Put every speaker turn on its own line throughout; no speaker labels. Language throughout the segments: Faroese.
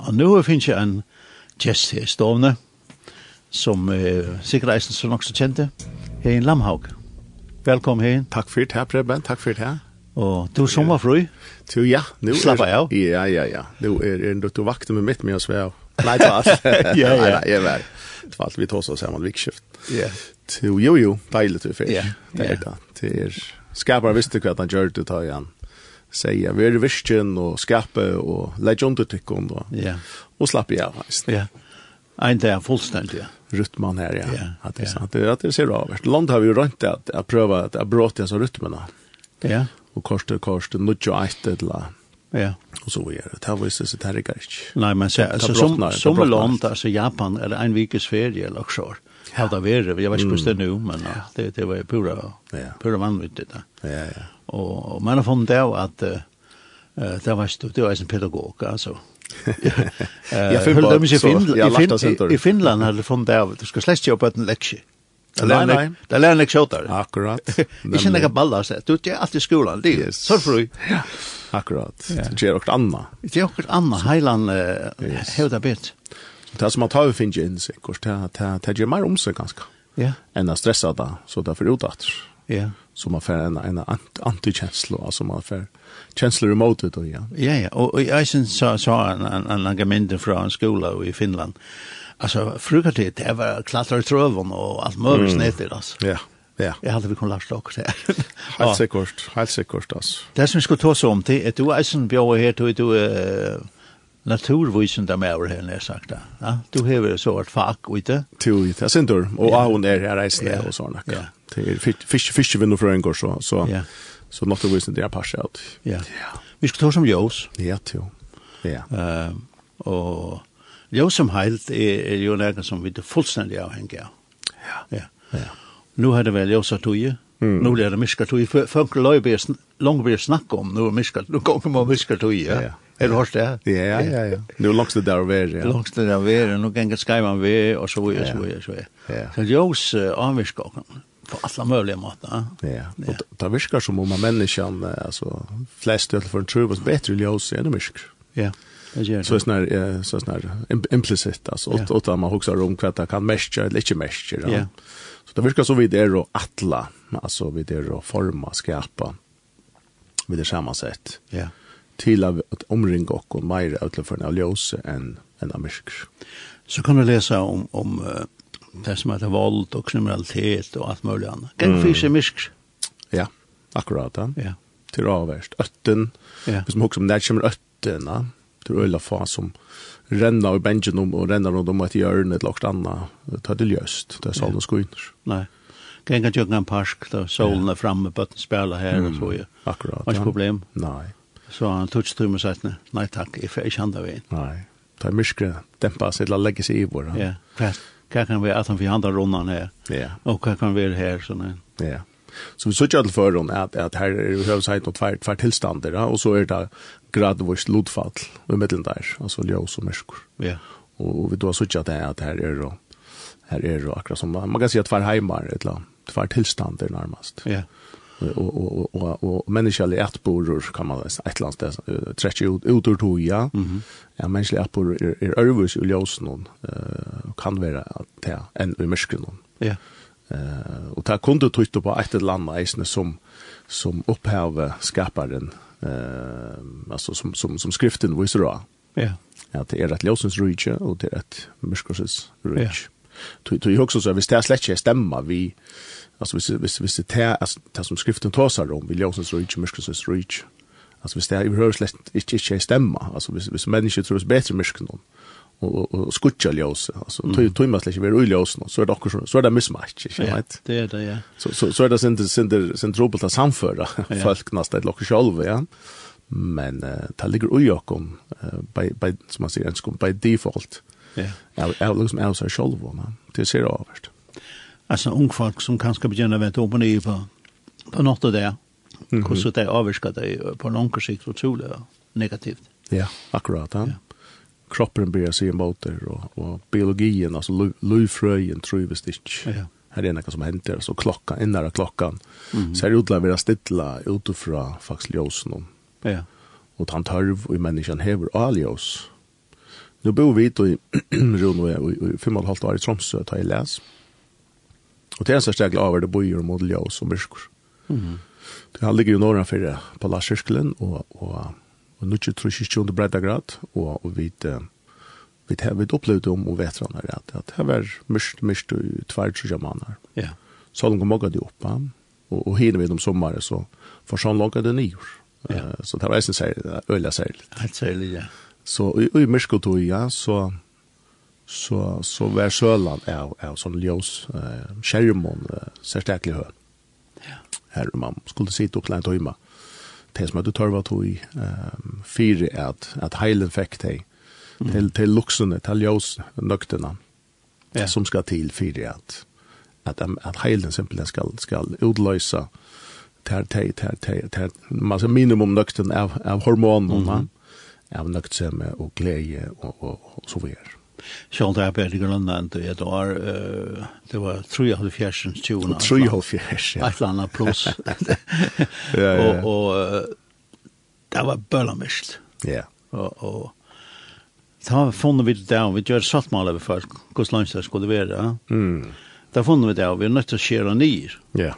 Og nå finnes jeg en gjest her i stående, som eh, sikkert eisen så nok så kjente, her i Lamhaug. Velkommen her,
Takk for det her, Preben. Takk for det her.
og du er sommerfrøy.
Du, ja. Nu
Slappa
er,
av.
Ja, ja, ja. Nu er, er du, du vakter med mitt med oss ved. Nei, det var alt.
Ja, ja.
Nei, nei, jeg var. Det var alt vi tog oss sammen vikskift.
Ja.
Du, jo, jo, deilig du fyrt.
Ja,
Det
ja.
er det. Det er, skapar visste hva han gjør det, tar han. Seia, vi er virkjen og skape og legge under tykken og,
Ja,
og slappe av hans.
ja. En dag er fullstendig, ja.
Rytman her, ja.
Ja,
At det
ja.
er sant. Det, at det ser avvært. Land har vi jo rønt at, at prøve at, at bråte disse rytmene.
Ja,
Og korset, korset, nudge og eit til det.
ja.
Och så är det. Det här var ju så det här är gärst.
Nei, men se, altså, som,
brottnar- det
som
brottnar
land,
alt.
altså Japan, er det en vikes ferie eller også. Ja. det vært, jeg vet ikke hvordan det er nå, men ja. det, det var jo pura,
Mm. Ja.
pura vanvittig da.
Ja, ja.
Og, og man har funnet det at uh, det var stort, det var en pedagog, altså.
Jag
Høll dem ikke i Finland,
Jag
i,
lärde
fin,
sig
i, i
inte.
Finland har det funnet det av, du skal slett ikke opp en leksje. Det
Nei,
lærer en lek-
nei.
det lærer en leksje åter.
Eh, Akkurat. eh,
Ikke nekka baller, så. du det er alltid i skolan, det er
Yes.
sørfru.
Ja. Akkurat. Det gör också annat.
Det er okkur anna heilan uh,
Yes.
hevda bit.
Det här som man tar och finner in sig. Det här det gör mer om sig ganska.
Ja,
Än att stressa det. Så det är för utåt.
ja.
Så man får en, en ant- antikänsla. Alltså man får känslor emot det. Ja.
Ja, ja, og og jeg synes så, så en, en, en langamente fra en skole i Finland. Altså, frukertid, det var klatre i trøven og alt mulig mm. snittet, altså.
Ja. Ja.
Jeg hadde vi kunnet lært dere det.
Helt säkert. Helt säkert alltså.
Det som vi skulle ta oss om til, er du er som bjør her, du er du er naturvisen der med over her, nær sagt da. Ja? Du hever så et fag, ute.
Till det er sen då och ja. hon är här reisne
Ja.
och såna.
Ja.
Ja. Till fiske fiske vinner för en gång så så.
Ja.
Så något det visst det är passat ut.
Ja.
Ja.
Vi skulle ta oss om ljøs.
Ja, tjo. Ja.
Uh, og ljøs som heilt er, er jo noe som vi er fullstendig avhengig av.
Ja.
Ja. Nu har det väl jag så tog
Mm.
Nu blir det miska tog för för löjbe långt blir snack om er nu miska nu kommer man miska tog ja.
Ja.
Är du hörst det?
Ja, ja, ja. Nu långs det där över, ja.
Långt det där ver nu gänga skyman vi och så vidare så vidare så
Ja.
vidare. Så er Jos avviskar på alla möjliga eh? mått.
Ja. Och det- det virkar som om en människan, eh, alltså, flest i alla fall tror oss bättre ljus än en människ.
Ja. Det gör
Så är
det.
sån här, eh, så är sån här im- implicit, alltså,
Ja.
åt, åt att man också har om kvart att kan mästra eller inte mästra.
Ja.
Så det virkar som vi det är att atla, alltså vi det är att forma, skapa, er vi det samma sätt,
Ja.
till att omringa och mer utlöfaren av ljus än en människ.
Så kan du läsa om om eh, det som heter våld och kriminalitet och allt möjligt annat.
Mm.
Gäng fysisk misk.
Ja, akkurat. Ja.
Ja.
til avverst. Øtten,
Ja.
hvis man husker om det kommer øtten, ja, til øyla fa som renner av bengen om, og renner rundt om et hjørne eller noe annet, ta til ljøst, det er salen skuiner.
Nej. Gänga jögna en park då solen är er framme på att spela här och
Mm.
så ju.
Akkurat.
Vars problem.
Nei,
Så han tog sig till mig och sa, nej, nej tack, jag får inte handla vid.
nei. Ta i myskre, dempa seg til å legge seg i vår.
Ja, hva hva kan vi, at han får handla rundan her,
Ja,
og hva kan vi være her, sånn her.
ja. Så vi sier til forhånd at, at her er det høvdsheit og tvær, tvær tilstander, ja, og så er det gradvis lodfall i middelen der, altså ljøs og myskre.
Ja,
Og vi då har sett att det är att här är då här är då akkurat som man kan säga att för hemar ett land för tillstånd närmast.
ja,
Och och och och, och mänskliga ätboror kan man säga ett land eh, där träcker ut ut ur toja. Mhm. Ja, er, mänskliga ätboror är är övers och ljus någon eh och kan vara att det är en i mörkret någon.
ja,
Eh och ta kunde tryckt på ett eller annat isne som som upphäver skaparen eh alltså som som som skriften visar då
ja,
at det er et ljøsens rujtje, og det er et myskosens
Ja.
rujtje. Tu tu också så hvis det er slett ikke stemmer vi altså hvis hvis hvis det er altså, det som skriften tosar om vi ljøsens rujtje myskosens rujtje. Altså hvis det er behøver slett ikke ikke stemmer, altså hvis hvis mennesker tror oss bedre myskon og og, og skutja ljøs, altså tu tu må slett ikke være uljøs nå, så er det akkurat så- så er det mismatch, ikke
ja,
sant?
det er det, ja.
Så så så är det sen sen sen trubbelt att samföra
Ja.
folk nästan ett lock själva ja. Men uh, det ligger oj och kom eh, by by som man säger ens kom by default.
ja.
Ja, jag liksom är så själva man. Det ser överst.
Altså, ung folk som kanskje begynner å vente opp og nye på, på något av det,
Mhm.
hvordan det avvirker det eh, på langere sikt utrolig og negativt.
Ja, akkurat. Ja.
Ja.
Kroppen börjar se emot det och, och biologin, alltså lövfröjen tror vi stitch.
Ja.
Här är något som händer, så klockan, innan klockan.
Mhm.
Så här utlar vi att stilla utifrån faktiskt ljusen om.
Ja,
og tann tørv og i menneskjan hever alios. Nu bor vi då i Rune och i fem och ett halvt år i Tromsø tar jag läs. Och det är en sån stäcklig av det bor ju modell jag som myrskor.
Mhm.
Mm. Det här ligger ju norra för på Larsirskelen och, och, och nu tror jag inte under bredda grad och, och vid vi har vi upplevde om och vet vad det är att det var mist mist i två tre månader.
Ja.
Så de kom också upp och och hinner vi dem sommaren så för sån långa det nyår.
Ja.
Så det Eh, var ju så här öliga särskilt.
Helt særlig, ja.
Så i, i Myskotoja så så så var Sörland är är sån ljus eh skärmon eh, särskilt hö.
Ja.
Här man skulle sitta och klänta hemma. Det som att du tar vad tog i ehm fyra att att heilen fick dig till till luxen till ljus nökterna
Ja.
som ska till fyra att att att heilen simpelthen ska ska utlösa ter ter ter ter ter massa minimum nökten av av hormonerna mm av nöktsämme och glädje och och, och så vidare.
Sjón der på Grønland og et år, eh, det var 3,5 tjona.
Och tre halv fjärs.
Et eller annet pluss.
Ja, ja, ja.
Og, og eh, det var bøllamist.
Ja.
Og, og det har vi funnet vi det av, vi gjør sattmaler vi folk, hvordan langt det skulle være.
Mm.
Det har funnet vi det av, vi er nødt til å skjere nyer,
Ja.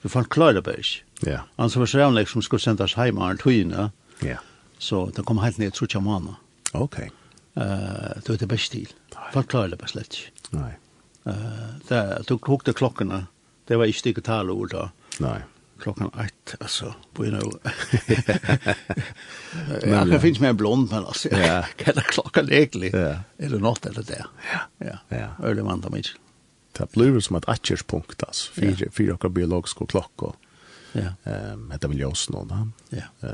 for folk klarer det bare ikke.
Ja.
Han som var så jævlig som skulle sendes hjemme av en tøyene,
Ja.
så det kom helt ned, tror ikke om henne.
Okej.
Eh, Det var det beste til.
Nei.
Folk klarer det bare slett ikke.
Nej.
Eh, det du kokte klockorna. Det var inte digitala ord då.
Nej.
Klockan ett alltså på en år. Jag kan finns med en blond men alltså.
Ja.
Kan det klockan egentligen?
Ja.
Eller något eller det.
Ja.
Ja. er
Ja.
Eller man tar mig.
Det blir som ett atcherspunkt alltså. Fyra fyra olika biologiska klockor.
Ja.
Ehm heter väl just någon.
Ja.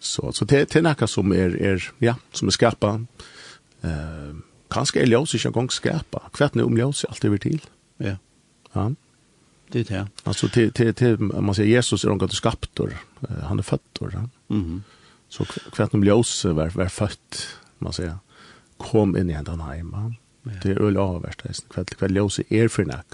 Så så det det är något som är är ja, som är skapa. Ehm kanske är ljus inte en gång skapa. um Kvart nu om ljus allt över till.
Ja.
Ja.
Det är det.
Alltså till till till man säger Jesus är någon som skaptor. Eh, Han är fötter. Ja.
Mhm.
Så kvart om ljus um var var fött man säger kom in i den hemma.
Ja.
Det er är öl avvärst kvart kvart ljus är för nack.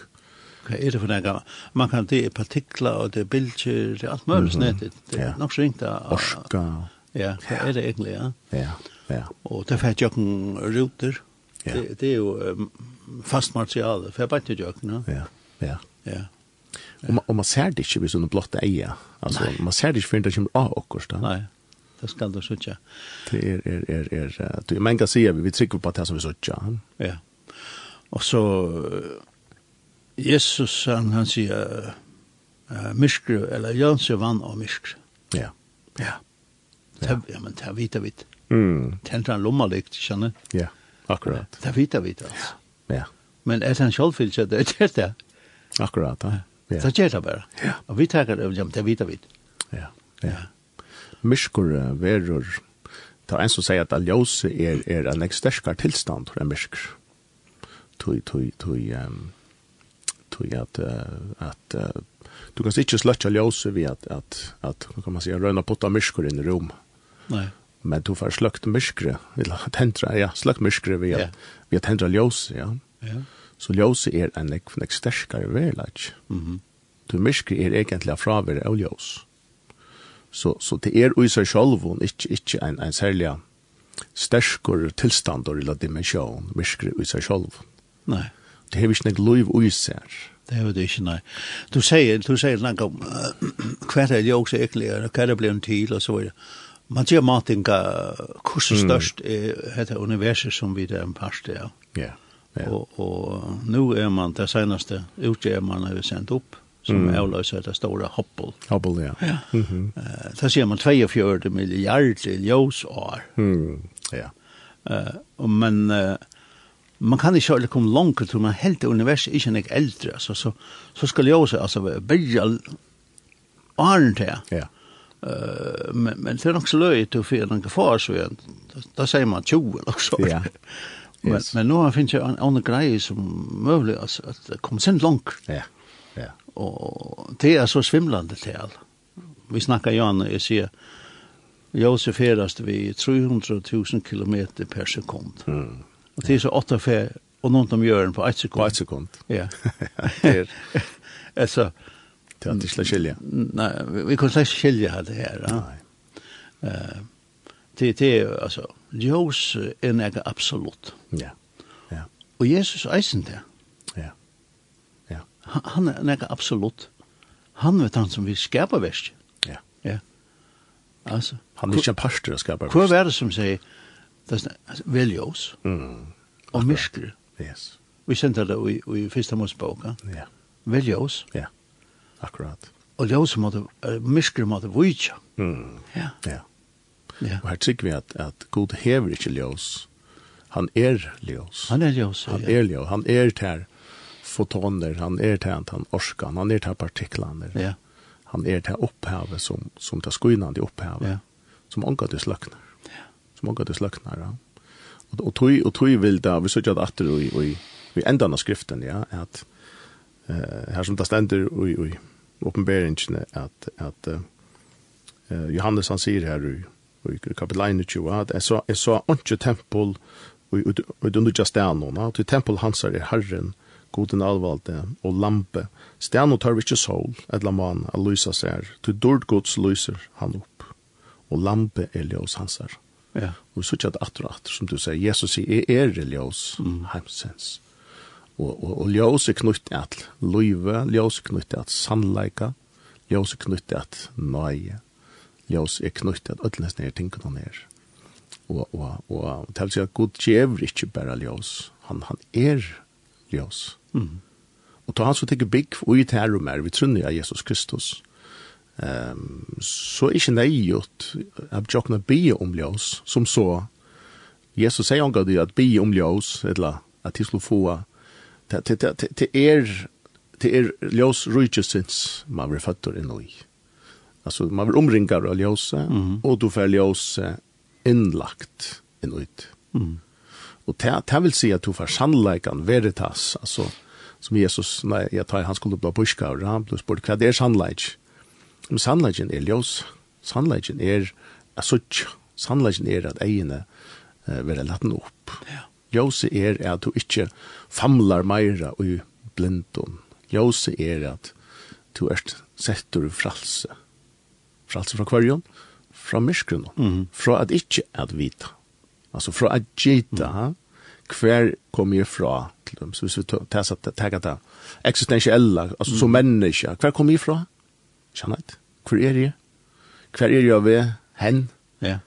Vad är er det för några? Man kan det är partiklar och det är bilder, det er är allt möjligt
Mhm.
snett. Det
Ja.
är nog så inte.
Orska.
Ja, det är det egentligen. Ja.
Ja. Ja.
Og det er fært jøkken ruter.
Ja.
Det, det er jo um, fast materiale, for jeg bare ikke jøkken. Ja.
Ja. Ja.
ja.
Och man, och man ser det inte vid sådana blotta eja. Alltså man ser det inte förrän det kommer av och då.
Nei, det skal du sitte.
Det är är är är eh, det man kan se vi vi trycker på det som vi söker.
Ja. Og så eh, Jesus, han, han sier uh, myskru, eller Jønse vann av myskru.
Ja.
Ja. Ja. ja, men det vita vi.
Mm.
Tentra en lomma likt, skjønner.
Ja. Akkurat.
Det vita vi, altså.
Ja.
Men er det en sjølfylse, det er det det.
Akkurat. Ja. Ja.
Det gjør det bare.
Ja.
Og vi tenker, ja, men det vita vi.
Ja. Ja. Myskor eh, verur Det er en som sier at aljose er, er en ek sterskare tilstand enn myskor. Tui, tui, tui, um, tui at, eh, at eh, du kan ikke sløtja aljose ved at, at, at hva kan man si, røyna putta myskor inn i rom.
Nei.
Men du får sløkt myskre, eller tendra, ja, sløkt myskre ved,
Ja.
yeah. ved at tendra aljose, ja.
Ja.
Så aljose er en ek, en ek sterskare verlags.
Mhm.
Du myskre er egentlig fravære av ljós. Så, så det er i seg selv ikke, ikke en, en særlig sterkere tilstand eller dimensjon, myskre i seg selv.
Nei.
Det er ikke noe liv i seg.
Det er jo det ikke, nei. Du sier, du sier noe om eh, hva er det jo også egentlig, er, hva er det blir en til, og så videre. Man sier matinga, hvordan
Mm.
størst er dette universet som vi er en parste av.
Ja. Ja.
Og, og nå er man det seneste utgjør man har sendt opp, som mm. avløser det store hoppel.
Hubble, ja. Mhm. Mm-hmm. Ja.
Eh, Da sier man 42 milliarder ljøsår.
Mm. Ja.
Eh, og men eh, man kan ikke heller komme langt til man helt universet ikke nek eldre, altså, så, så skal jeg også altså, bygge åren til.
Ja.
Eh, men, men det er nok så løy til å fyre noen far, så igjen. Da, da sier man 20 eller så.
Ja.
Men,
Yes.
men nå finnes jeg en annen greie som mulig, altså, at det kommer sent langt,
Ja. Ja.
og det er så svimlande til. Vi snakker jo an, og jeg sier, Josef ferast vi 300.000 kilometer per sekund.
Mm.
Og det er så åtta fe, og noen om gjøren på ett
Gå
sekund.
et sekund.
Ja.
Det er
altså,
til at det slår skilje.
nei, vi, vi kunne slett skilja det her. Ja.
Nei.
Det, det er jo, altså, ljós er nega absolutt.
Ja. Ja.
Og Jesus eisen det.
Ja. Ja.
Han- Han er nega absolutt. Han vet han som vil skapa verst.
Ja.
Ja. Altså,
Han er ikke en pastor og skapar.
hva er det som sier, det er altså, vel ljós
Mm.
og myskler.
Yes.
Vi sender det i, i fyrsta målsboka.
Ja.
Vel ljós,
Ja. Akkurat.
og ljós måtte, uh, myskler måtte vujtja.
Mm.
Ja,
Ja.
ja.
Og her tykker vi at, at Gud hever ikke ljós. Han er ljós.
Han er ljós.
Han
ja.
er ljós. Han er ter fotoner, han er ter han orskan, han er ter partiklaner.
Ja,
Han er ter opphavet som, som tar skynande opphavet.
Ja.
Som angår det sløknar. Som angår det sløknar, ja. Og, og, tog, og tog vil da, vi sørger at atter og, og, vi endan av skriften, ja, at eh, her som det stender i, i åpenberingene, at, at eh, Eh, Johannes han sier her i, i kapitel 21 at jeg sa, jeg sa ikke tempel og det underja stjernene, at i tempel hans er herren, goden alvalde og lampe. Stjernen tar vi ikke sol, et laman, at lysa seg, til dord gods lyser han opp, og lampe er ljøs hans er.
ja.
Og så ikke at atter og atter, som du sier, Jesus sier, jeg er religiøs, mm. heimsens. Og, og, og ljøs er knyttet at løyve, ljøs er knyttet at sannleika, ljøs er knyttet at nøye, ljøs er knyttet at ødelnes nere tingene han er. Og, og, og det vil si at Gud gjever ikke bare ljøs, han, han er ljøs.
Mm.
Og ta han som tenker bygg og i terrum er, vi trunner av Jesus Kristus, um, så er ikke nøyot at jokna um bia om ljøs, som så Jesus sier omgå det at bia om ljøs, eller at de skulle få det- det- det det- det er det er ljøs rujtjesins man blir fattor inn i. Altså, man blir omringar av ljøse, og du får ljøse innlagt inn ut.
Mm.
Og det, det vil si at du får sannleikan veritas, altså, som Jesus, nei, jeg tar han skulle bli buska, og han ble spurt, hva er sannleik? Men sannleiken er ljós. Sannleiken er at suttja. Sannleiken er at eiene uh, vera laten opp. Ja. Ljóset er at du ikke famlar meira i blindon. Ljóset er at du erst settur i fralse. Fralse fra kvarjon, fra myrskrun, fra at ikke at vita. Altså fra at gita, mm. hver kom jeg fra, til dem. Så hvis vi tar det eksistensiella, altså som menneske, hver kom jeg fra? Kjennett, hvor er jeg? Hvor er jeg ved hen?
Ja,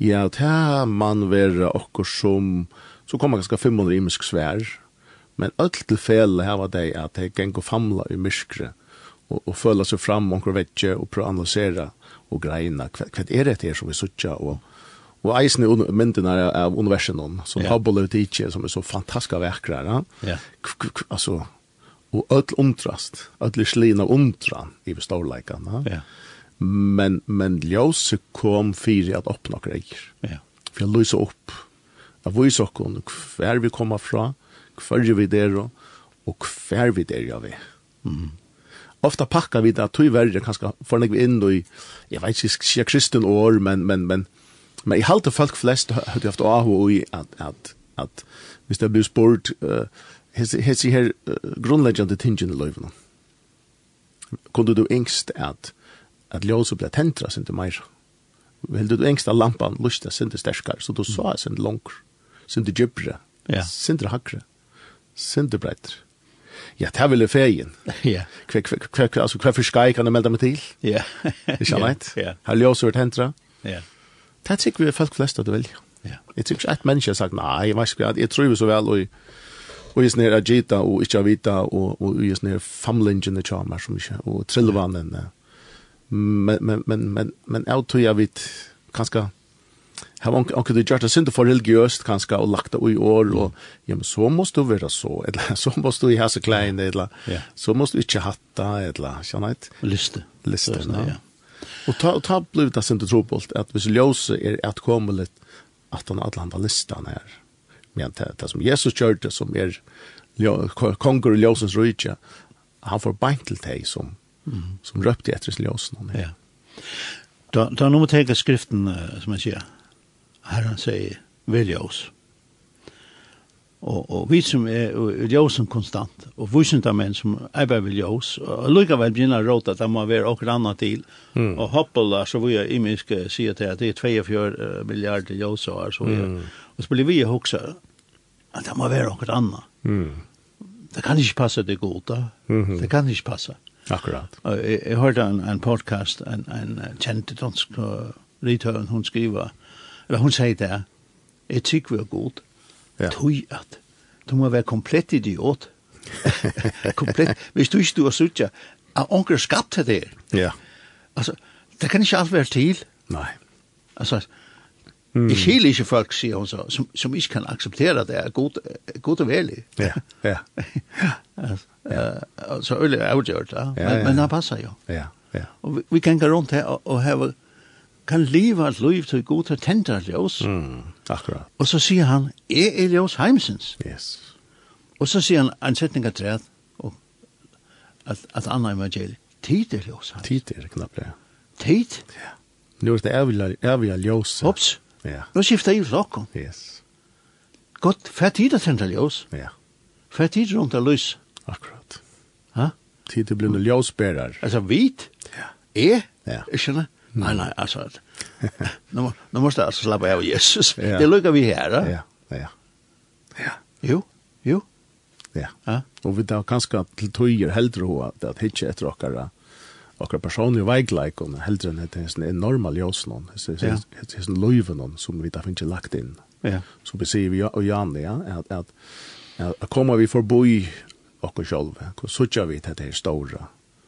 Ja, ta man vera okkur som, så kommer ganske 500 imisk svær, men öll til fele hava dei at dei geng og famla i myskre, og, og føla seg fram omkring vettje, og prøva analysera og greina, hva, hva er det her som vi suttja, og, og eisen i un- myndina av universen, som
Ja.
Hubble og Tietje, som er så fantastiska verkrar, ja?
Ja.
K- k- k- altså, og öll undrast, öll er slina undran i storleikana,
ja,
men, men ljóset kom fyrir at oppna greier
ja.
for å lyse opp av vi sokken, hver vi kommer fra, hver vi der, og hver vi der gjør vi. Ofta pakkar vi det at tog verre, kanskje får vi inn i, jeg vet ikke, sier kristen år, men, men, men, men i halte folk flest har haft avhå i at, at, at hvis det blir spurt, uh, hese her uh, grunnleggjande tingene i løyvene. Kunde du engst at, at ljóset ble tentra sin til meira? Vil du engst av lampan lusta sindi sterskar, så du sa sindi langer, sindi djupre,
Ja.
sindi hakre, sindi breitre. Ja, det vil jeg fegin.
Ja.
Hver, hver, hver, hver, altså, hver for skai kan jeg melde meg til?
Ja.
Ikke annet?
Ja,
Her er ljøser hvert hentra.
ja,
Det er sikkert vi folk flest at du velger.
ja.
Jeg tror ikke et menneske har sagt, nei, jeg, vet ikke, jeg tror vi så vel, og, og jeg snir at gita, og ikke at vita, og, og jeg snir famlingene tjamer, som ikke, og trillvannene. Men, men, men, men, men jeg tror jeg vet, kanskje, Har man onkel det gjort det synd for religiøst kanskje og lagt det i år og ja men så måste du vara så eller så måste du ha så klein eller
Ja.
så måste du inte hatta eller så nej
Og Liste.
listan.
Sånn,
Ja.
Ja.
Og ta ta blivit det sent trobolt at hvis ljóse er at koma lit at han alla handa listan her. Men det, det som Jesus gjorde som er ljó- ko- konger i ljósens rike, han får beint til deg som, som røpte etter ljósen han her.
Ja. Da, da nå må jeg tenke skriften, eh, som jeg sier. Her han sier, velja oss. Og, og vi som er ljósen konstant, og vusenta menn som arbeider ved ljós, og lukka vel begynner å råta at det må være okkur anna til,
Mm.
og hoppela, så vil jeg imisk sier til at det er 24 milliarder ljósar, så vil jeg, og så blir vi hoksa at det må være okkur anna.
Mm.
Det kan ikke passa det goda,
Mhm.
det kan ikke passa.
Akkurat.
Og Jeg, jeg hørte en, en podcast, en, en eh, kjent dansk eh, rithøren, hun skriver, eller hun sier det, etikk var er god,
Ja.
tog at du må være komplett idiot. komplett, hvis du ikke du har suttet, at onker skapt til det.
Ja.
Altså, det kan ikke alt være til.
Nei.
Altså, mm. jeg skil ikke folk, sier hun så, som, som ikke kan akseptere det, er god, god og velig.
Ja. Ja.
Altså, eh, så øyelig er avgjørt, ja.
Ja,
men,
ja.
men det passer jo.
Ja. Ja.
Og vi, vi kan gå rundt her og, og have, kan leve et liv til god til tænder ljøs. Mm.
Mm. Akkurat.
Og så sier han, jeg er ljøs heimsens.
Yes.
Og så sier han en setning av træet, og at, at andre evangeliet, tid er ljøs heimsens.
Tid er knappt det.
Tid?
Ja. Nu er det ærvila, ærvila ljøse.
Hops.
Ja.
Nå skifter jeg i flokken.
Yes.
Godt, hver tid er tænder ljøs.
Ja.
Hver tid rundt er lys.
Akkurat.
Ha?
Tid er blivit ljøsbærer.
Altså, hvit,
Ja.
er,
Ja. Mm.
ikke skjønner? Nei, nei, altså, nå, må- nå måste jeg altså slappe av Jesus.
Ja.
Det lukker vi her, da.
Ja. Ja. Ja.
Jo, jo,
Ja.
ja.
Og vi tar kanskje til tøyer heldre ho at at hitje etter okkara okkara personlige veikleikon heldre enn etter hessen er enorma ljøsnon
Ja.
hessen løyvenon som vi da finnes lagt inn
Ja.
som vi sier vi og Jan ja, at, at, at, at kommer vi forboi okkar sjálve hvor sutja vi til det her stora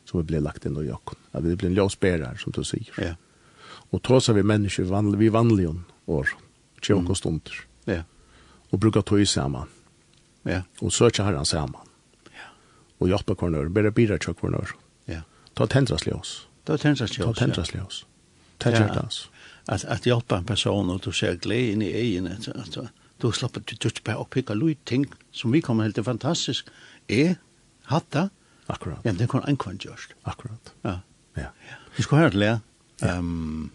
som vi blir er lagt inn i okkar at er vi blir en ljøsbærer som du sier
Ja,
og tåsa vi mennesker vanlig, vi vanligen år tjokk og stunder
ja,
og brukar tøy saman
ja,
og søkja herran saman
Ja.
og hjelpa kvarnør, bare bidra tjokk kvarnør
ja.
ta tendras ljós,
Det var tænders
ta
ljøs. ja.
tendras ljós, ta
Ja.
hjertans.
At, at hjelpe en person, og du ser glede inn i egen, at, at, at du slapper, du du ikke bare opppikker lyd ting som vi kommer helt til fantastisk. Jeg hatt det,
Akkurat,
ja, men det kunne en kvann gjørst.
akkurat.
Ja.
Ja,
Vi skulle høre til det. Um,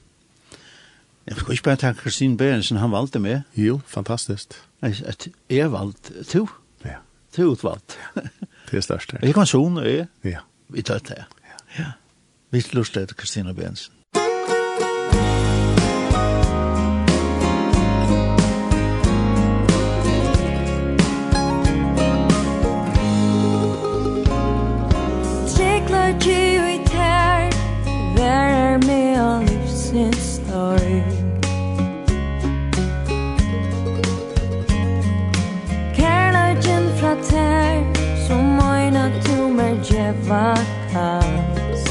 jeg skulle ikke bare takke Kristin Berensen, han valgte meg.
jo, fantastiskt.
Jeg, at jeg valgte, to,
Ja,
to utvalgt.
det er størst det.
jeg kan sånn, jeg,
Ja,
vi tar det. Ja. Vi lustet etter Kristina Berensen.
Trygglar du i tær Vær er med av livsins storg Kærløgjen fra tær Som øyne du mer djeva kast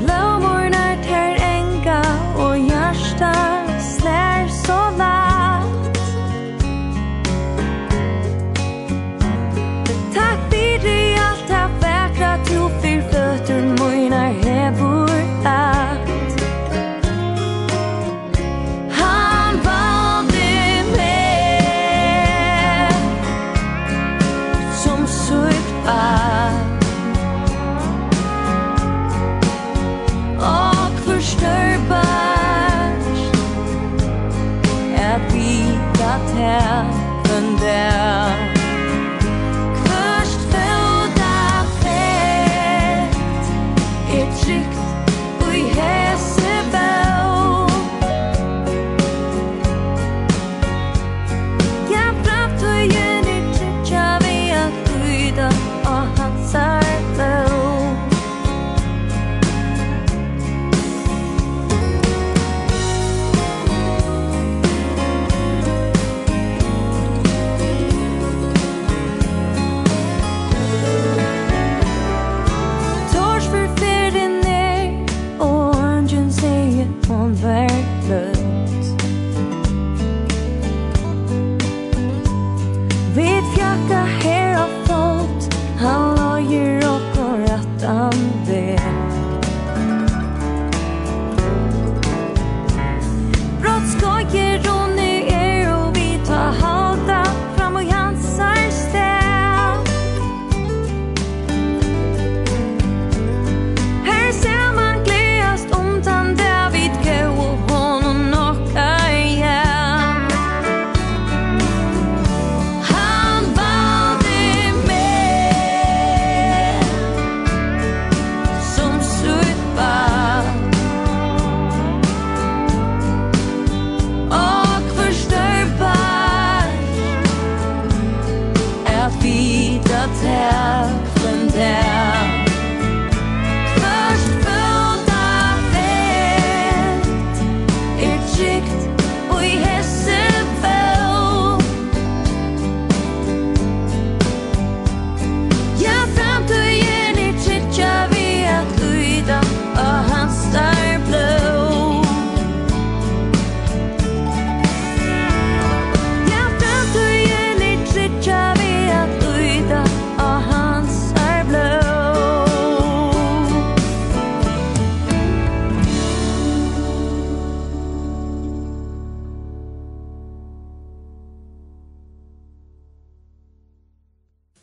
Blåmornar tær enga Og hjärsta slær så vatt Takk fyrir alt að vekra Tú fyrir fötur munar hefur allt Han valdi meg er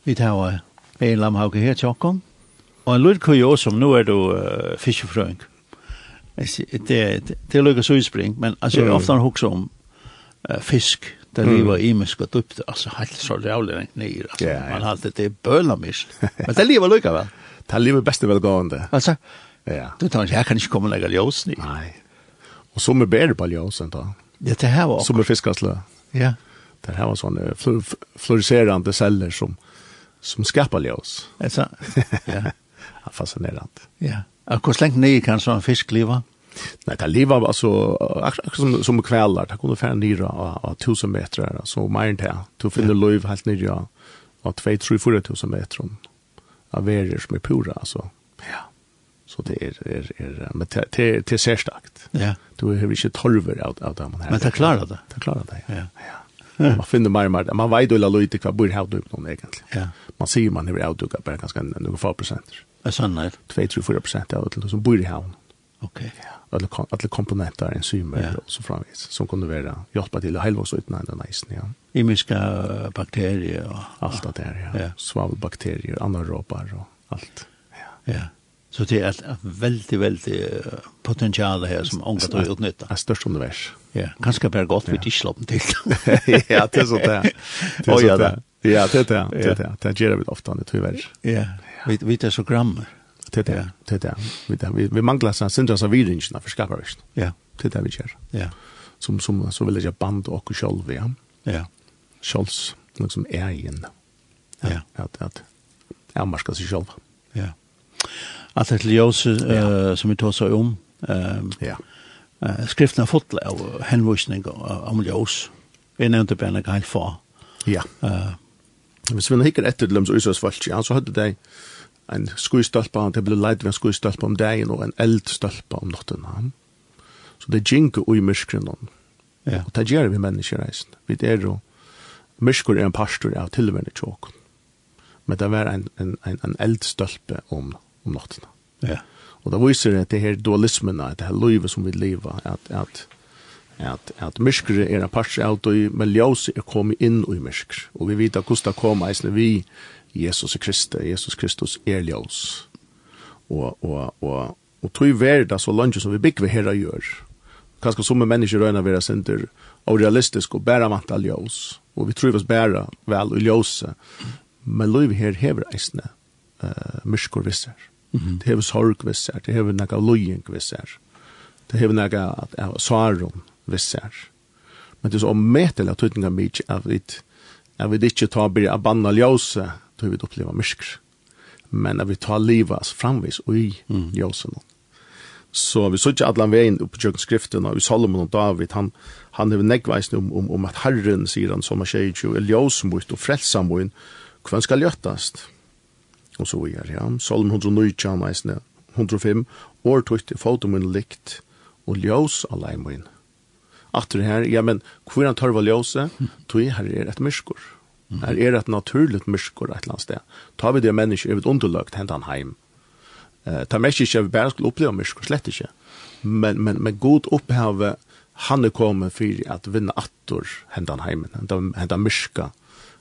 Vi tar en lamhauke her tjokken. Og en lurt kuriosum, nu er du uh, fiskefrøyng. Det, det, det er lykkes utspring, men altså, jeg
Mm.
er ofte hukse om uh, fisk, der mm. lever i mennesk og dypt, altså, helt så rævlig lengt ned, altså,
Ja, ja.
man har alltid det bøla mist. Men det lever lykke vel.
Det er livet beste velgående.
Altså,
Ja.
du tar ikke, jeg kan ikke komme og legge ljøs ned.
Nei. Og så med bedre på ljøsen da.
Ja, det er her var
Så
også.
med fiskasle.
Ja,
Det her var sånne fl floriserende celler som, som skapar ljøs.
altså, ja,
Det er fascinerende.
ja. Og hvor slengt ned kan sånn fisk leva?
Nei, det lever altså, akkurat akkur som, som kvelder, det kunne fære nere av, av tusen meter, så mer enn det. Du finner løyv helt nere av, av 2-3-4 tusen meter av verer som er pura, altså. Ja. Så det er, er, er men det, det, er- det er særstakt.
Ja,
Du har ikke torver av, av det man her.
men det klarer det.
Det klarer det,
Ja.
ja. Man finner mer og mer, man vet jo la løyte hva bor her du noen egentlig.
Ja.
Man sier man har avdukket bare ganske noen få prosenter.
Det er sånn, nei.
2-3-4 prosent av det som bor i havn
Ok.
alla kom- alla komponenter enzymer
Ja.
och så framvis som kunde vara hjälpa till att helvas ut när den isen ja
Imiska eh, bakterier og...
allt det där Ah, ja,
Ja.
svavelbakterier anaerobar och allt ja
Ja. Så det er et veldig, veldig eh, potensial her som unga tar utnytta.
är störst univers
Ja, er kanskje bare godt vi ikke slår den til.
ja det är så där det är
Oj,
så
ja,
där ja det är det det
Ja.
är det det ger vi ofta det tyvärr
er. Ja, vi, vi tar så grammer.
det är det det är det vi det- vi- vi manglar sån syndras av viringarna för skaparvist
Ja,
det är det vi gör
ja,
som som så vill jag band och själv ja
ja,
självs liksom är igen
ja,
att att Ja, man ska sig själv.
ja. Alt det ljøse eh, som vi tar seg om, um,
Ja.
uh, skriften har fått av henvisning av- om ljøs. Vi nevnte bare en helt få.
Ja.
Uh,
Hvis vi hikker etter til dem som Øsas folk, ja, så hadde de en skuistølpa, det ble leit ved en skuistølpa om dagen um og um en eldstølpa om natten. Ja. Så det ginko ui myskren om.
ja,
Og det gjør vi mennesker reisen. Vi er jo, mysker er en pastor av tilværende tjåk. Men det var en, en, en, en eldstølpe om, om natten.
ja,
Og det viser at det her dualismen, at det her livet som vi lever, at, at, at, at myskere er en parts av det, men ljøse er kommet inn i myskere. Og vi vet at hvordan det kommer, eisne vi, Jesus Kristus, Jesus Kristus er ljøs. Og, og, og, og tog verda så langt som vi bygger her og gjør. Kanskje som mennesker røyna vera sender og realistisk og bæra vant av ljøs. Og vi tror oss bæra vel og ljøse. Men liv her hever eisne uh, myskor visser. Det hever sorg visser, det hever nekka lojeng visser. Det hever nekka at- av sarum visser. Men det er så ommetelig at tøytinga mykje av vit at vi ikke tar byrja av banna ljøse, tøy vi oppleva myskor. Men at vi tar livas framvis og i ljøsen. Mm. Så vi så ikke allan veien opp på tjøkken skriften og i Salomon og David, han, han hever negveisen om, om, om um, at Herren, sier han, som er tjeitjo, er ljøsmuit og frelsamuin, hvem skal ljøttast? og så er ja. Salm 109, han eisne, 105, år tøyt i foten min likt, og ljøs alene min. Atter her, ja, men hvor han tørva ljøse, tøy her er et myskor. Her er et naturligt myskor et eller annet sted. Tar vi det mennesker, er vi underløgt, hent han heim. Eh, ta mest ikke, vi bare skulle oppleve myskor, slett ikke. Men, men, men god opphave, han er kommet for at vinna attor hent han heimen, hent han- hent han myska.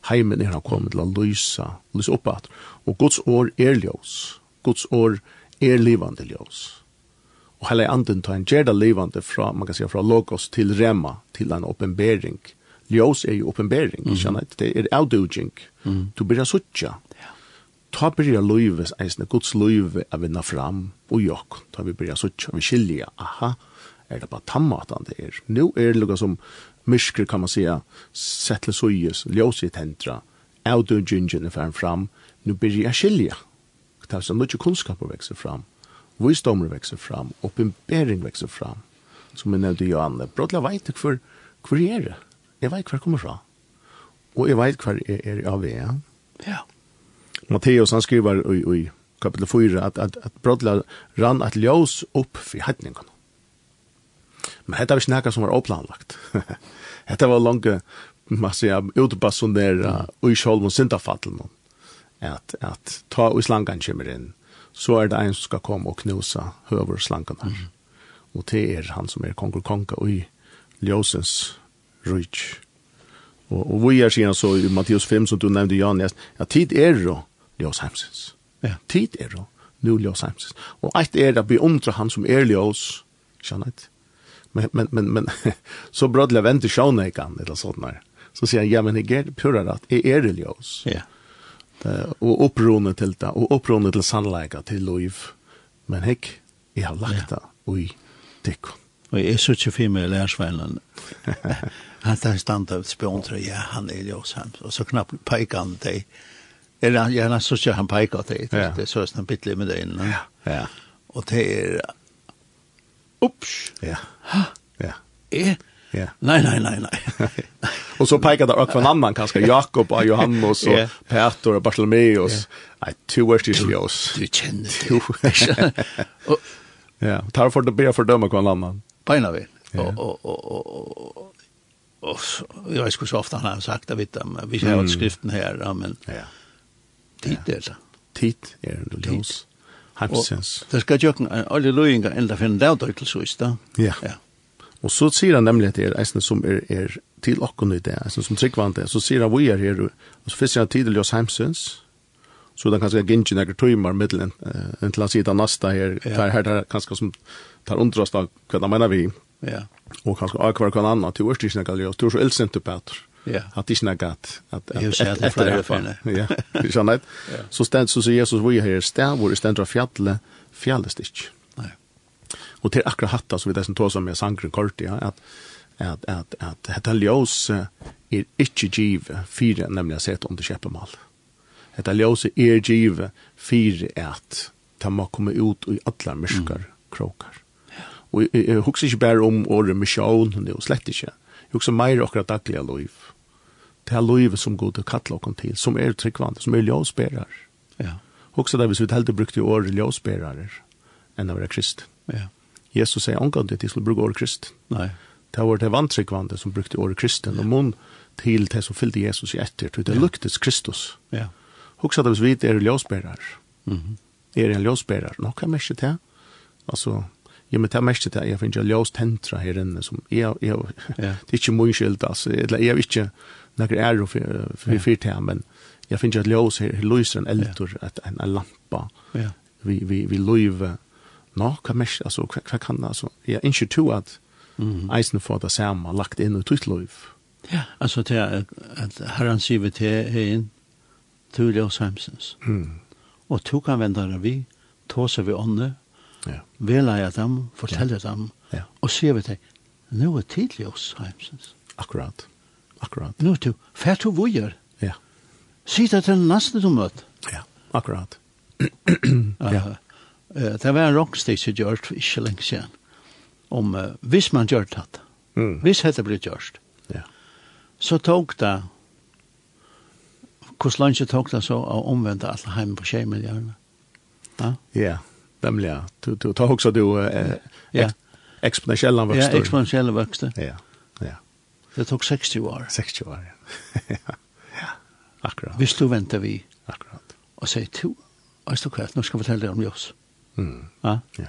Heimen er han kommet til å lysa, lysa opp at. Og Guds år er ljøs. Guds år er livande ljøs. Og hele anden tar en gjerda livande fra, man kan säga, fra logos til rema, til en oppenbering. Ljøs er jo oppenbering, mm. kjenner jeg. Det er avduging. Du blir suttja. Ta byrja løyves, eisne Guds løyve er vinna fram, og jokk, ta vi byrja suttja, vi skilja, aha, er det bare tammatan det er. Nå er det lukka som myskre, kan man säga, settle sujes, ljøs i tentra, avdugingen er fram fram, nå byrja jeg skilja. Det er så mykje kunnskaper vekser fram, visdommer vekser fram, oppenbering vekser fram, er som jeg nevnte Johanne. Brodla veit hver, hver er det? Jeg veit hver jeg kommer fra. Og jeg veit hver er, er av vea.
ja,
Matteus han skriver i, i kapitel 4 at, at, at brodla rann at ljós upp for hedningarna. Men dette var ikke noe som var oplanlagt. dette var langt, man sier, utbassonera og i sjolv og syndafattelen. At, at ta og slangan kommer inn, så er det en som skal komme og knusa høver slangan her. Og det er han som er konger konga og i ljøsens rujtj. Og, og vi er siden så i Matteus 5, som du nevnte, Jan, ja, tid er jo ljøs heimsins.
Ja.
Tid er jo nu ljøs heimsins. Og eit er det beundra han som er ljøs, skjønner jeg. Men, men, men, men så brødler venter sjåne ikke han, eller sånn her. Så sier han, ja, men jeg er pura rett, jeg er ljøs.
Ja.
Eh, og opprone til det, og opprone til sannleika, til liv. Men hekk, jeg har lagt det, ui, tikkun.
Og jeg er så ikke fin med lærersveinen. Han tar stand av spjøntre, ja, han er jo sammen. Og så knapt peker han deg. Eller han, ja, han så ikke han peker deg. Det,
Ja.
det er så sånn bittelig med deg inne.
Ja.
Og det er, ups,
Ja. Ja.
eh?
Ja.
Nei, nei, nei, nei.
Og så pekar det akkurat annan, kanskje Jakob og Johannes og
Ja.
Peter og Bartholomeus. Nei, to er ikke ljøs.
Du kjenner det. og
Ja, tar for det blir fordømme hver annan.
beina vi. Og, og, og, og, og, og, så- jeg vet ikke så ofte han har sagt det, vet du, men vi har jo skriften her, ja, men
Ja.
tid er det.
Tid er det ljøs.
Og
Heimsens.
det skal jo ikke en olje løyinga enda finne det av til sist, da.
Ja.
Ja.
Og så sier han nemlig at det er eisene som er, er til okken i det, eisene som tryggvante, så sier han vi er her, og så finnes han tid til ljøs heimsens, så den kanskje gynner nekker tøymer middelen, eh, inntil han sier det neste her,
Ja.
tar her, tar kanskje som tar undrast av hva han mener vi,
Ja.
og kanskje akvar kan annan til årst ikke nekka ljøs, til så ildsint du Peter.
Ja.
At det ikke nekka at, at, at
Jeg har sett det
etter
flere
det her,
ganger.
Ja, vi skjønner det. Så stend, så sier Jesus, vi er her sted, hvor det stender fjallet, fjallet ikke.
Nei.
Og til akkurat hatt, så vi det som tog som er sangren kort, ja, at, at, at, at dette ljøs eh, er ikke give fire, nemlig å sette under kjeppemal. Dette ljøs er give fire at det må komme ut i alle mørker krokar. Og jeg, jeg husker ikke bare om året misjon, det er jo slett ikke. Jeg husker mer akkurat daglige liv. Det er livet som god og kattler oss til, som er tryggvande, som er ljøsbærer.
Ja.
Husker det hvis vi heldig brukte året ljøsbærer enn å være kristen.
Ja.
Jesus sier angående at de skulle bruke året kristen.
Nei.
Det var det vantryggvande som brukte året kristen, og mun til det som fyllte Jesus i etter, til det luktes Kristus.
Ja. mhm,
Huxa det hvis vi er ljøsbærer. Er en ljøsbærer. Nå kan jeg ikke til. Altså, ja, men det er mest til. Jeg finner ikke ljøs tentra her inne, som jeg, jeg, det er ikke mye skyld, altså. Eller Jeg er ikke noen ære for, for, for det, men jeg finner at ljøs her, her lyser en eldur, et, en, en lampa.
Ja.
Vi, vi, vi løyve. Nå kan jeg ikke, altså, hva, hva kan, altså, jeg er ikke to at
Mhm.
eisen får det samme, lagt inn i tøyt løyve.
Ja. Altså til at, at herren sier vi til hegin, til Ljøs Heimsens.
Mm.
Og to kan vende der vi, tåse vi ånde,
Ja.
veleie dem, fortelle dem,
Ja.
og sier vi til, nå er tid Ljøs Heimsens.
Akkurat. Akkurat.
Nå er du, fær to vujer,
Ja.
si det til den neste du møter.
Ja. Akkurat.
Ja. Eh, Det var en rockstitch gjort ikke lenge siden. Om eh, hvis man gjør det,
Mm.
hvis dette ble gjort,
Ja.
så tok det, hvordan langt tok det så å omvende alle hjemme på 20 millioner? Ja,
Ja, nemlig ja. Du, du tar också du eh,
Ja.
ja. exponentiella
ja
växter.
er eksponentielle vøkste.
ja, ja.
Det tok 60 år.
60 år. ja. ja. Akkurat.
Hvis du venter vi
Akkurat.
og sier to, aristokrat, nå skal jeg fortelle deg om Jos.
Mm.
Ja?
Ja.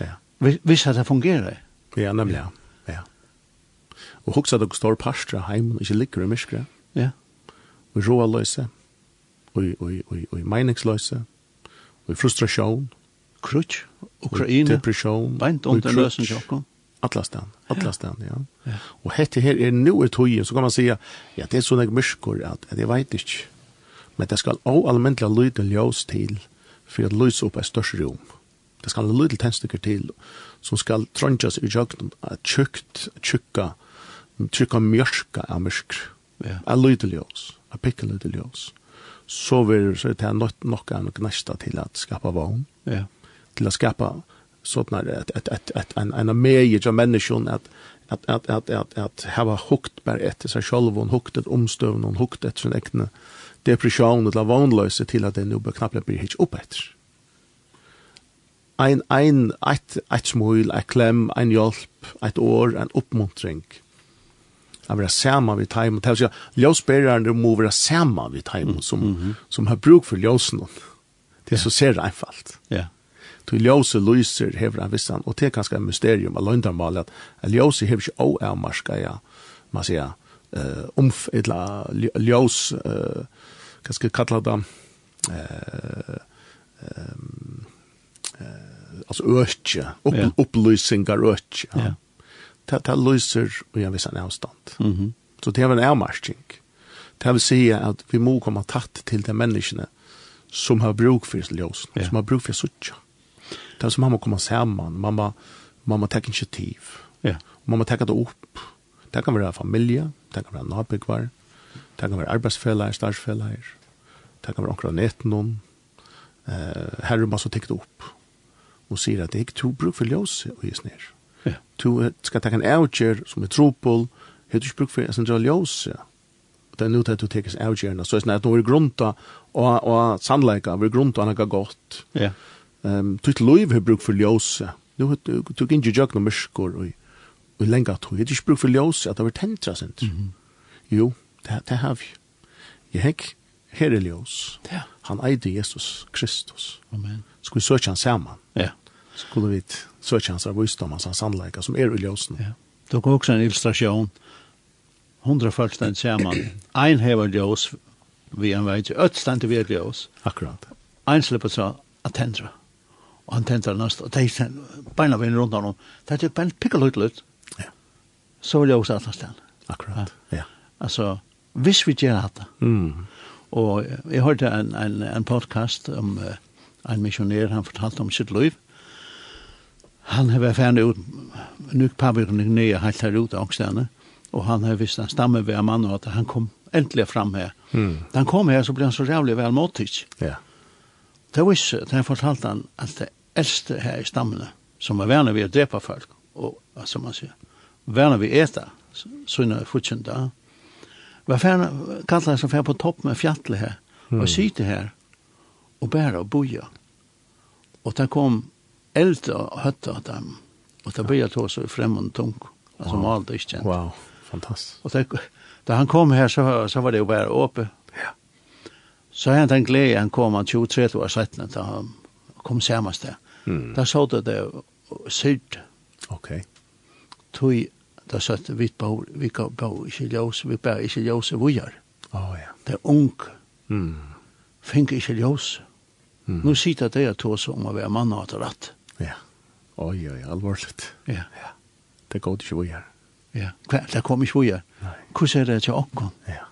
ja.
Hvis- Hvis det fungerer,
Ja, nemlig ja. Ja. Og huxa du står pastra heim, ikkje ligger i myskre,
ja,
og roa løse, og, og, og, og meningsløse, og frustrasjon,
krutsk, Ukraina,
depresjon,
beint
og
under
krutsk.
løsen tjokken.
Atlastan, Atlastan, ja. Og hette her er nu et tøyen, så kan man säga, ja, det er sånne myskor, at, at jeg vet ikke. Men det skal også allmentlig lyde ljøs til, for at lyse opp et størst rom. Det skal lyde tennstykker til, som skal trønges i jøkken, tjukt, tjukka, tjukka mjørka av myskr.
Ja.
Jeg lyde ljøs, jeg pikker lyde ljøs. Så vil så er det nok, nok, nok nesta til at skapa vogn
Ja,
till att skapa sådana ett ett ett ett en en mer av människan att att att att att att ha hukt bara efter sig själv och hukt ett omstövn och hukt ett sin egna depression eller vanlöse till att det nu bör knappt bli hitch upp ett ein ein ett ett smul ett klem ein hjälp ett år en uppmuntring att vara samman vid time och tälja ljusbäraren må vara samman vid time som som har bruk för ljusen det är så ser det er einfalt
ja,
Tu ljósi lýsir hevur hann vissan og te kanska ein mysterium að løndarmál at ljósi hevur ikki óæmarska ja, man sier, eh umf illa ljós eh kanske kalla det eh ehm eh alltså ötje upp
Ja.
upplösningar ötje
Ja.
ja ta ta löser och jag visar avstånd
Mhm.
så det är väl en avmarsking det vill säga att vi må komma tatt till de människorna som har bruk för ljus
Ja.
som har bruk för sucha det är som man må komma samman man må man må ta initiativ
Ja.
Man må tekka det opp. Det kan være familie, det kan være nabekvar, det kan være arbeidsfeller, starsfeller, det kan være akkurat netten, eh, her er man så tekka det opp, og sier at det er ikke to bruk for ljøs og gis ned.
Ja.
To skal tekka en avgjør som er tropol, har du ikke bruk for en sentral ljøs, og det er nødt til at du tekkes avgjørende, så er det sånn at nå er grunta, og, og sannleika, vi er grunta noe godt,
Ja.
Ehm tutt loiv har bruk for ljose. Nu har du du kan ju jagna myskor och och länga tog. Det är inte bruk för ljose att det var tentra sent. Jo, det det har vi. Jag häck här är ljus.
Ja.
Han ägde Jesus Kristus.
Amen.
Skulle söka han samman.
Ja.
Skulle vi söka hans visdom, hans sannleika er som är i ljusen.
Ja. Du kan också en illustration. Hundra fullständigt samman. Ein hever ljós vi en vei, öll stendt vi er ljós.
Akkurat.
Ein slipper så at tendra. Og han tendra næst, og de sen- beina vi rundt honom. Det er bare en pikkelhut lut.
Ja.
Så vil jeg også at han stand.
Akkurat. Ja.
Altså, hvis vi gjør dette,
Mm.
Og jeg hørte en, en, en podcast om uh, en misjonær, han fortalte om sitt liv. Han har vært ferdig ut, nu påvirkning nye helt her ute av Ångstene, og han har visst en stamme ved en mann, og at han kom endelig fram her.
Mm.
Da han kom her, så ble han så rævlig vel måttig.
Ja.
Det var ikke, da jeg fortalte han er at det eldste her i stammene, som var verne ved å drepe folk, og og som man sier, verne ved eta, sånne fortjenta, var ferne, kallet han som ferne på topp med fjattelig her, og sitte her, og bære og boja. Og det kom eld og høtta av dem, og det ble til oss i fremmed tung, altså wow. malte ikke kjent.
Wow, fantastisk.
Og det, da han kom her, så, så var det jo bare åpe.
Ja.
Så han den glede, han kom han 23 år setten, da han kom samast der.
Mm.
Da så det det syd,
Okej.
tog, da så det vi bor, vi går- bor ikke ljøs, vi bor ikke ljøs, vi gjør.
Åh ja.
Det er ung,
Mm.
finner ikke ljøs.
Mm.
Nå sitter det jeg tog som å være mann og hatt rett.
Ja. Oj oj, allvarligt.
Ja,
Det går inte vad gör.
ja. Hva, det kom ikke vi gjør.
Nej.
Hvordan er det til åkken?
Ja.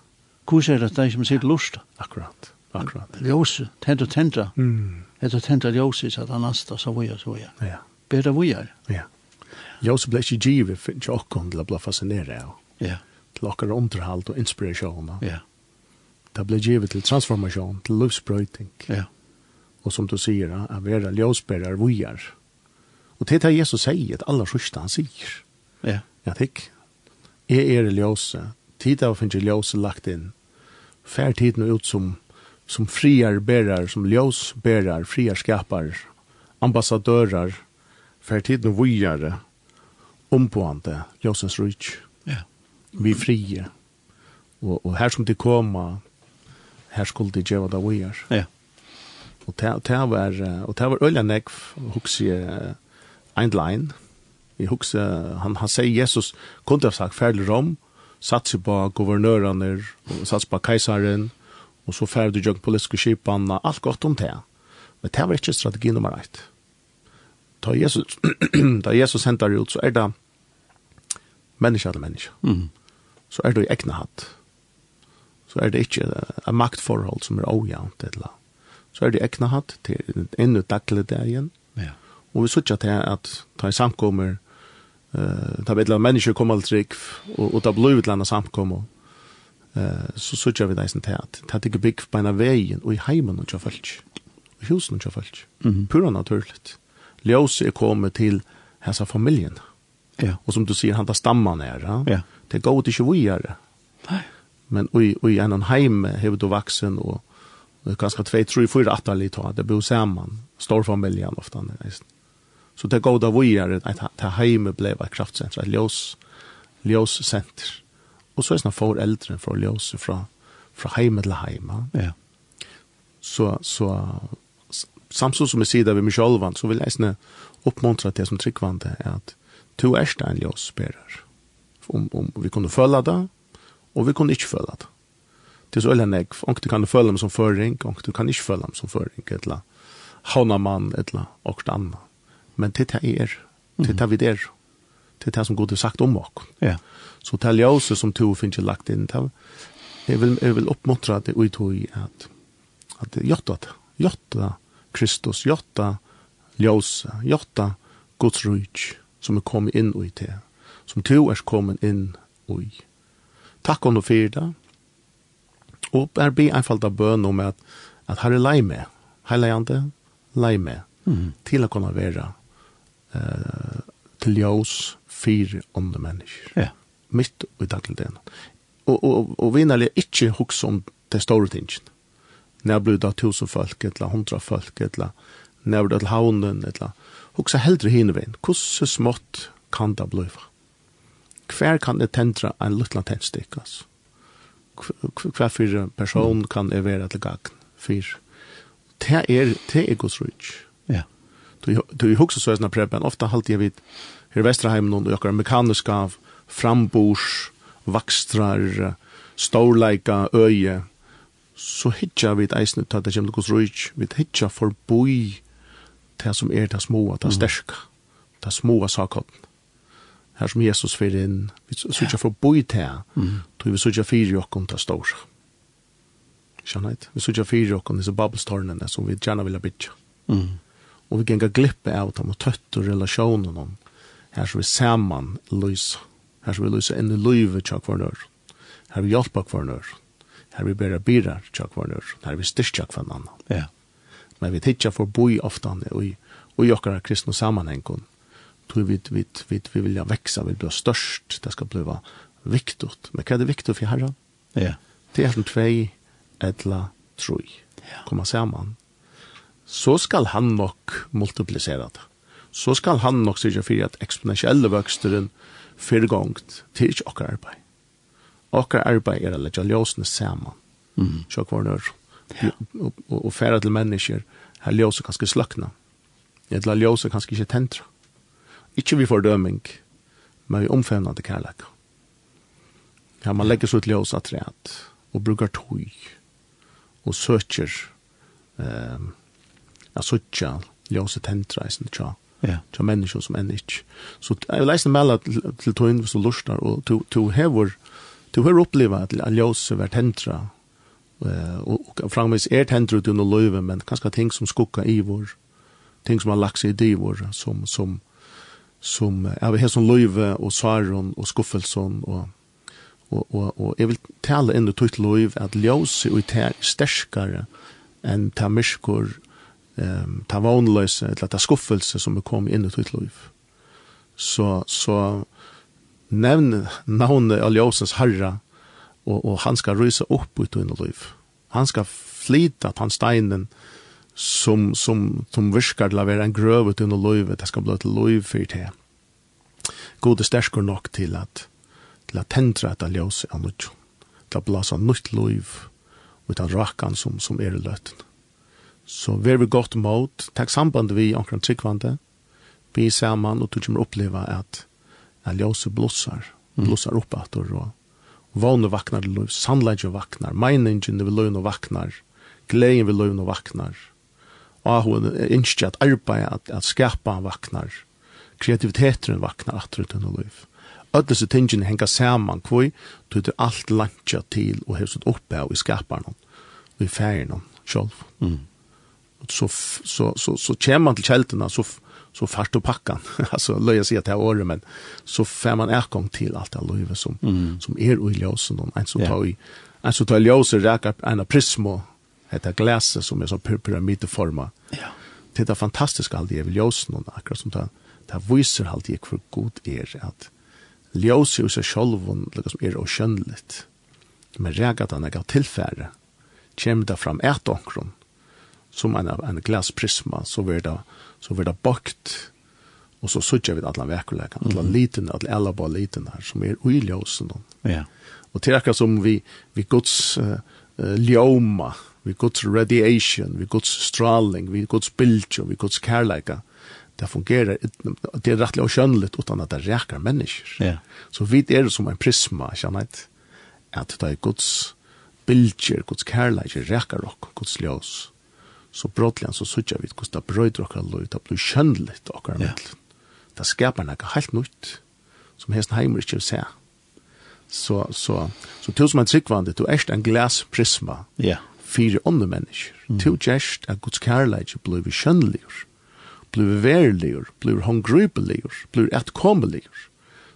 Hvordan er det til de som sitter lust?
Akkurat. Akkurat.
Ljøs, tent og tentra.
Mm.
Etter tentra ljøs, så at han anstår, så vi gjør, så vi gjør.
Ja.
Bedre vi gjør.
Ja. Josef blev ju givet för Jakob till att bli fascinerad av.
Ja,
Till åker underhåll och inspiration.
ja,
Det blev givet till transformation, till livsbröjting.
ja.
Och som du säger, ja, att vara ljusbärare vojar. Och det är det Jesus säger, att alla sista han säger.
Ja,
Jag tycker, är er ljuse, tid av finns ljuse lagt in. Fär tiden ut som, som friar bärar, som ljusbärar, friar skapar, ambassadörer, fär tiden vojare, ompåande, ljusens rich,
ja,
vi frie. Och, och här som de komma, här skulle de geva det vojar.
ja,
Og det det var eh, og det var Ølja Nekv hugsi eh, ein line. Vi hugsi eh, han han sier Jesus kunde ha sagt ferdig rom, satsi på guvernørene, og satsi på keisaren, og så ferdig jog politiske skipanna, alt godt om det. Men det var ikke strategi nummer 1. Da Jesus, da Jesus hentar ut, så er det menneske eller menneske.
mm.
Så er det i egna hatt. Så er det ikke et maktforhold som er ojant, eller så er det egna hatt til ennå daglig dagen.
ja,
Og vi sørger til at ta i samkommer, uh, ta bedre mennesker kommer alt trygg, og, og ta blod ut landa samkommer, uh, så sørger vi deisen til at ta ikke bygg på en av veien, og i heimen og kjør folk, og i husen og kjør folk.
Mhm.
Pura naturligt. Ljøse er kommet til hessa familien,
ja,
og som du sier, han tar stamman her, ja?
Ja.
det går ikke vujere,
Nei.
men ui, ui en annan heim hever du vaksen og og ganske tvei, tre, fyra attal i ta, det bor saman, storfamiljan ofta. Nesten. Så det goda vi er at det heime blei et kraftsenter, et ljós, ljóssenter. Og så er sånn for eldre fra ljós, fra, fra heime til heima.
ja,
Så, så s- samså som er jeg sier det ved meg sjølvan, så vil jeg sånn oppmuntra til som Um, tryggvande er at to er en ljós berer. Om, om vi kunne følge det, Og vi kunne ikke føle det. Det er så øyne jeg. Og du kan føle dem som føring, og du kan ikke føle dem som føring, et eller havnamann, et eller og det andre. Men det er det er. Det er det vi er. Det er det som Gud har sagt om oss.
Ja.
Så det er ljøse som to finnes ikke lagt inn. Det er- Jeg vil, jeg vil oppmuntre det ut i at, at det er jotta det. Jotta Kristus, jotta ljøse, jotta Guds rujt som er kommet inn i det. Som to er kommet inn i. Takk om du for det. Og jeg blir einfalda bøn om at, at her er lei med. Heiligande, lei med. Mm. Til å kunne være eh, til ljøs fire ånde mennesker
Ja.
mitt i dagligdagen. Og, og, og vinnarlig ikke hukse om det store tingen. Når det blir da tusen folk, eller hundra folk, eller når det blir til havnen, eller hukse heldre hineveien. Hvordan smått kan det bli? Hver kan det tendre en liten tennstikk, altså. Hver- Hver fyrir person kan det være til gagn. Fyr. Det er, det er Guds rujtj.
Ja.
Du du hugsa så såna preben ofta halt jag vid her Vesterheim någon och jag mekaniska frambors vakstrar storleika öje så hitja vid eisne ta det kemur kos ruig vid hitja for boi det som er det små det sterka det små sakon her som Jesus fer inn vi søkja for boi te då vi søkja fyrir jokkum ta stor Sjannait, vi søkja fyrir jokkum disse babelstornene som vi gjerna vilja bytja
Mm.
og vi gengar glippe av dem og tøtt og relasjonen om her som vi saman lysa her som vi lysa inn i livet tja kvar nør her vi hjelpa kvar nør her vi bæra birar tja kvar nør her vi styrstja kvar annan
Ja.
men vi tittja for boi oftan og i, og i okkara kristna sammanhengen tog vi, vi, vi, vi vilja veksa, vi blir størst, det skal bliva viktigt. Men hva er det viktigt for herran?
Ja.
Det er som tvei, etla, troi.
Ja.
Komma saman. Så skal han nok multiplisera det. Så skal han nok sørge for at eksponentielle vøksteren fyrir gongt til ikke er okkar arbeid. Okkar arbeid er å legge ljøsene saman.
Mm-hmm.
Mm. Sjå hver nør. Og, og, og færa til mennesker her ljøse kanskje sløkna. Etla ljøse kanskje ikke tentra. Ikke vi fordøming, men vi omfevna til kærleika. Ja, man legger så ut ljøs at rett, og brukar tøy, og søker, um, ja, søtja, ljøs og tentra, eisen, tja,
Ja.
tja mennesker som enn ikke. Så t- jeg vil eisen melde til, til tøyen hvis du lustar, og to, to hever, to hever oppleva at ljøs er tentra, eh, og, og framvis er tentra ut under løyve, men kanskje ting som skukka i vår, ting som har lagt seg i divor, som, som, som, eh, ja, vi har som løyve, og saron, og skuffelsen, og, og, og, og jeg vil tale inn i tøyt liv at ljøse og te er sterskare enn ta myskor, um, ta vanløse, eller ta skuffelse som er kommet inn i tøyt liv. Så, så nevn navnet av ljøsens herre, og, og han skal rysa opp ut under liv. Han skal flyta på han steinen som, som, som virkar til å være en grøv ut under livet, det skal bli et liv for det. God er sterkur nok til at til at tendra etta ljós av nudjo, til at blasa nytt liv og til rakan som, som er i løtten. Så vær vi godt mot, takk samband vi omkring tryggvande, vi saman og du kommer oppleva at at ljóset blossar, blossar opp at og vannet vaknar til liv, sannleggen vaknar, meiningen vil løgn og vaknar, gleden vil løgn og vaknar, og hun ønsker at arbeid, at, at skapa vaknar, kreativiteten vaknar atter uten og liv. Öll disse tingene henger saman kvoi, du er alt lantja til og hefst oppe av i skaparen og i færen sjálf. Mm.
mm-hmm.
Så, f- så, så, så kommer man til kjeltene, så, f- så fært og pakkan, altså løy jeg sier til er året, men så fær man erkong til alt det livet som, som er ui ljósen, og en som
Mm. Ja.
tar i, en som tar i ljósen rækar en av prismo, dette glaset som er så pyr- pyramideforma,
Ja.
det er fantastisk alt det er ved ljósen, og akkurat som det, det viser alt det hvor god er, at ljósen i seg sjálf, liksom er og kjønnligt, men rægat han gav tilfære, kjem det fram et omkron, som en, en glasprisma, så var det, så var det bakt, og så sutja vi alla vekkulekan, alla liten, alla alla bara liten her, som er ui ljósen,
Ja.
Og er til akkurat som vi, vi Guds uh, ljoma, vi Guds radiation, vi Guds straling, vi Guds bildjo, vi Guds kærleika, det fungerer, det er rettelig og skjønnelig utan at det reker mennesker.
Ja.
Så vi er som en prisma, kjennet, at det er Guds bilger, Guds kærleik, rekar ok, Guds ljós, så brottligen så sutja vi hvordan det brøyder okkar løy, det blir kjønnligt okkar
Ja.
ja. Det skapar nekka helt nytt, som hesten heimer ikke vil se. Så, så, så til som en tryggvande, du erst en glasprisma,
Ja.
fyrir andre mennesker. Mm. Til gjerst at Guds kærleik blir kjønnligur, blir verligur, blir håndgrupeligur, blir etkomeligur,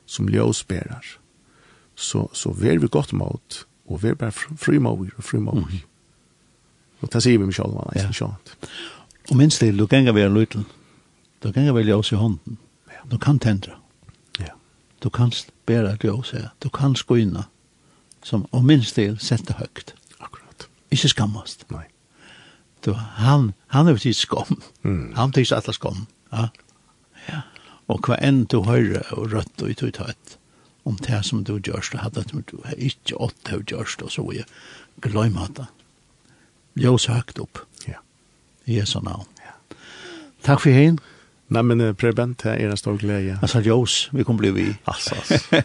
som ljøsberar. Så, så ver vi godt mot, og ver bare frimågur og frimågur. Mm. Og det sier vi med sjálf, man
Ja.
er sjálf.
Og minst til, du ganger være lytel. Du ganger være ljøs i hånden.
Ja.
Du kan tendra.
Ja.
Du kan bæra et ljøs her. Du kan skoina. Som, og minst til, sette høgt.
Akkurat.
Ikke skammast.
Nei.
Du, han, han er sitt skom.
Mm.
Han tykkes alle skom. Ja. ja. Og hva enn du høyre og rødt og tog tøtt om det som du gjørst, og hadde at du har ikke åtte og gjørst, og så er jeg gløym hatt det. Ljøs høgt opp,
Ja.
i Jesu navn.
Ja.
Takk for henne.
Nei, men eh, Preben, det er en stor glede.
Alltså ljus, vi kommer bli vi.
Altså, altså.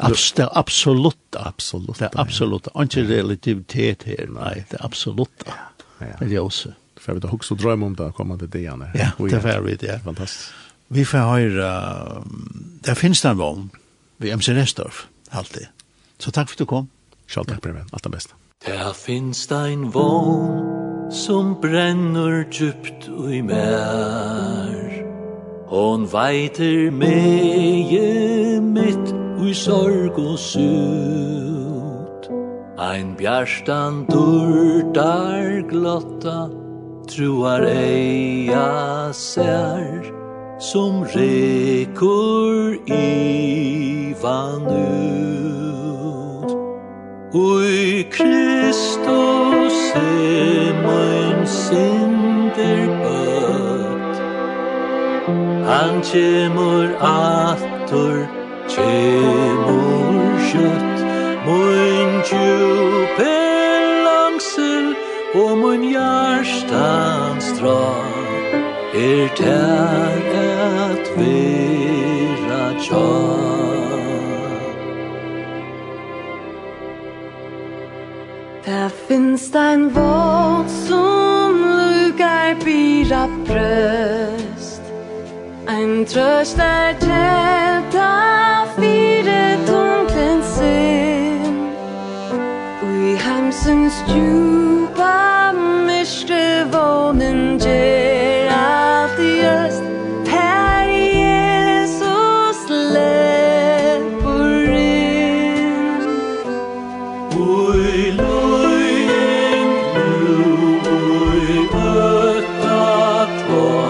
Abs, det absoluta.
Absoluta,
Det
ja.
absoluta. Inte relativitet här, nej. Det absoluta.
Ja.
Det ljus.
For jeg vet, hukks og drøm om det kommande dagene.
Ja,
Og
det var vi det.
Fantastisk.
Vi får um, höra, där finns det en vagn vid MC Restorf, alltid. Så tack för att du kom.
Sjálf takk, Preben. Alt det beste.
Der finst ein vogn som brennur djupt i mer Hon veiter meie mitt i sorg og sut Ein bjarstan durtar glotta truar eia sær Som rekur i van ut Ui Kristus er mein synder bøtt Han kjemur atur, kjemur kjøtt Mun djupe langsel og mun hjertans dra Er tæg at vera tjall
Der finst ein Wort som lugar bira brøst Ein trøst er tjelta fire tunglen sin Ui heimsens djupa myskre vånen gjer alt i øst Per Jesus lepper inn
Oi, loin, lu, oi, ötta tva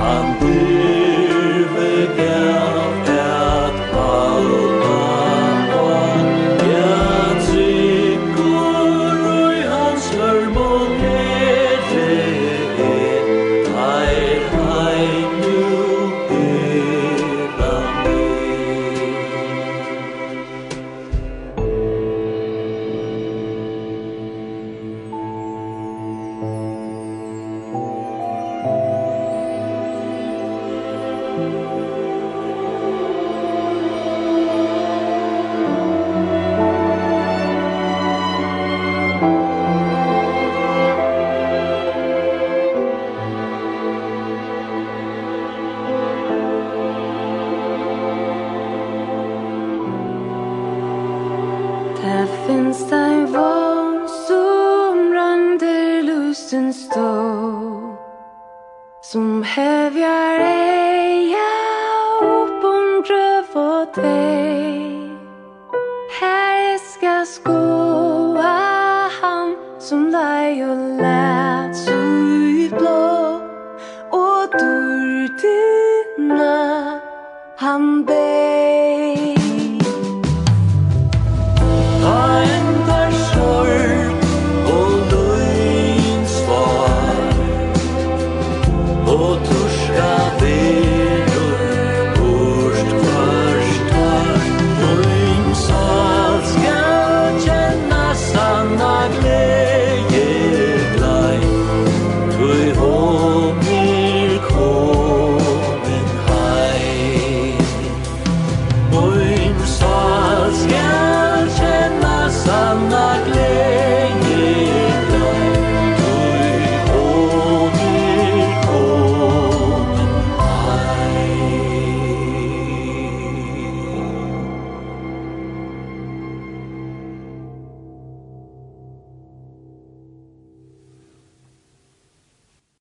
Han dirve gav et halva tva Ja, tryggor, oi, hans hörmån er det Heir, heir, nu, bera mig
Det finns ein vogn som rander lusten stå Som hevjar eia upp om dröv och tvej Här ska skoa han som lei og lät så ut blå Och dörrtina han bej
I